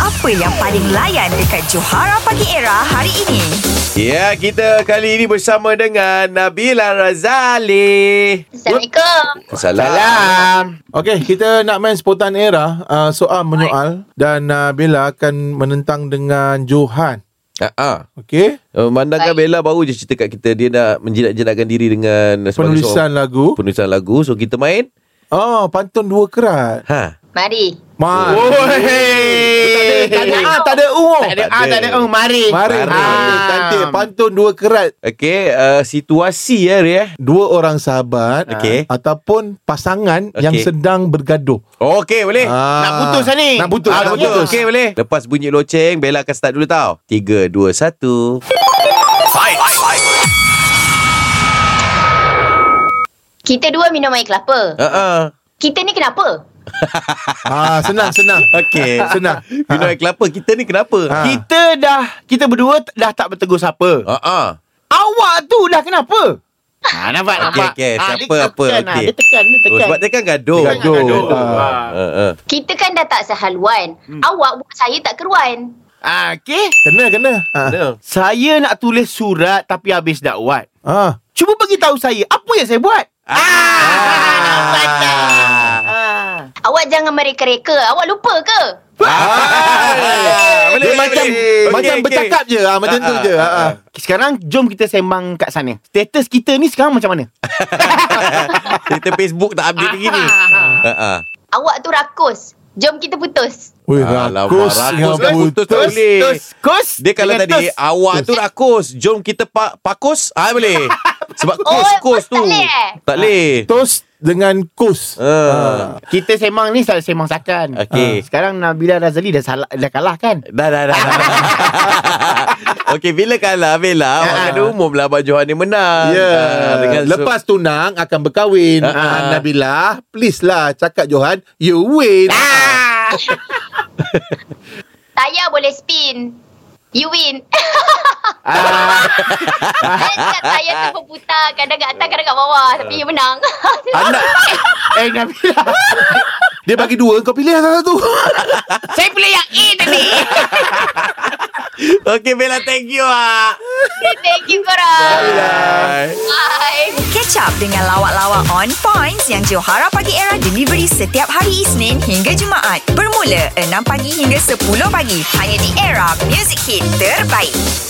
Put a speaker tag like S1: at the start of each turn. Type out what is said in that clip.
S1: Apa yang paling layan dekat Johara Pagi Era hari ini?
S2: Ya, kita kali ini bersama dengan Nabila Razali.
S3: Assalamualaikum.
S2: Salam.
S4: Okey, kita nak main sepotan era uh, soal menyoal dan uh, Bella akan menentang dengan Johan.
S2: Ah, ah.
S4: Okey,
S2: Uh, Mandangkan
S3: Baik.
S2: Bella baru je cerita kat kita dia nak menjilat-jilatkan diri dengan sebagai seorang-
S4: penulisan lagu.
S2: penulisan lagu. So kita main.
S4: Oh, pantun dua kerat.
S2: Ha.
S3: Mari.
S4: Ma.
S2: Oh, Oi.
S5: Tak ada A, tak ada U. Oh, Tak
S2: ada
S5: ada A, tak ada U. Mari.
S4: Mari,
S2: Mari.
S4: mari. Cantik pantun dua kerat.
S2: Okey, uh, situasi ya Ria.
S4: Dua orang sahabat uh,
S2: Okey.
S4: ataupun pasangan
S2: Okey. Eh,
S4: yang sedang bergaduh.
S2: Okey, boleh.
S4: Ah.
S5: nak putus lah ni.
S4: Nak putus.
S2: Ah,
S4: nak
S2: betul.
S4: putus.
S2: Okey, boleh. Lepas bunyi loceng, Bella akan start dulu tau. 3 2 1.
S3: Kita dua minum air kelapa.
S2: Ha ah.
S3: Kita ni kenapa?
S4: Ah, senang, senang.
S2: Okey.
S4: Senang.
S2: Minum air kelapa kita ni kenapa?
S4: Ah.
S2: Kita
S5: Kita dah, kita berdua t- dah tak bertegur sapa.
S2: Ha ah.
S5: Awak tu dah kenapa? Ha, nampak,
S2: Okey,
S5: nampak.
S2: okey.
S5: Ah,
S2: Siapa,
S5: dia
S2: apa,
S5: tekan, ah.
S2: okey.
S5: Dia tekan, dia
S2: Oh,
S5: tekan.
S2: sebab dia kan gaduh.
S4: Dia gaduh.
S2: Ah. Ah, ah.
S3: Kita kan dah tak sehaluan. Awak buat saya tak keruan.
S5: Ah, okey.
S4: Kena, kena. Ah.
S2: Betul.
S5: Ya. Saya nak tulis surat tapi habis dakwat.
S4: Ah.
S5: Cuba bagi tahu saya apa yang saya buat. Ah.
S2: Ha.
S5: ah.
S3: Awak jangan mereka-reka. Awak lupa ke?
S2: Ah.
S4: Dia macam macam bercakap je. Ah, macam tu
S2: Ah,
S4: je.
S2: ah,
S4: Ah. ah.
S5: Sekarang jom kita sembang kat sana. Status kita ni sekarang macam mana?
S2: Cerita Facebook tak update lagi ni. Ha ah.
S3: Awak tu rakus. Jom kita putus.
S4: Weh,
S2: Alamak,
S4: rakus
S2: rakus
S4: yang
S2: dah putus tak
S4: putus.
S2: boleh.
S5: kus.
S2: Dia kalau
S5: Dengan
S2: tadi
S5: tus.
S2: awak tu rakus, jom kita pa- pakus. Ah boleh. Sebab
S3: Oh,
S2: kus kus
S3: tak
S2: tu.
S3: boleh, eh?
S2: Tak boleh.
S4: Tos dengan kus.
S2: Ah.
S5: Kita semang ni selalu semang sakan.
S2: Okey.
S5: Ah, Sekarang Nabila Razali dah salah dah kalah kan?
S2: Dah dah dah. dah. Okey, bila kalah Bella, awak kan umum lah Abang Johan ni menang.
S4: Ya.
S2: Ah, dengan
S4: Lepas tunang akan berkahwin.
S2: Ah, ah.
S4: Ah, Nabila, please lah cakap Johan, you win.
S2: Ah.
S3: Saya boleh spin. You win.
S5: Ah,
S3: Saya cakap saya tu berputar. Kadang kat atas, kadang kat bawah. Tapi you menang.
S4: Ah,
S2: anak
S5: eh Nabila.
S4: Dia bagi dua, kau pilih salah satu.
S5: saya pilih yang A tadi.
S2: Okey Bella, thank you ah.
S3: Thank you korang.
S2: Bye.
S3: Bye.
S1: Catch up dengan lawak-lawak on points yang Johara Pagi Era delivery setiap hari Isnin hingga Jumaat. Bermula 6 pagi hingga 10 pagi. Hanya di Era Music Hit Terbaik.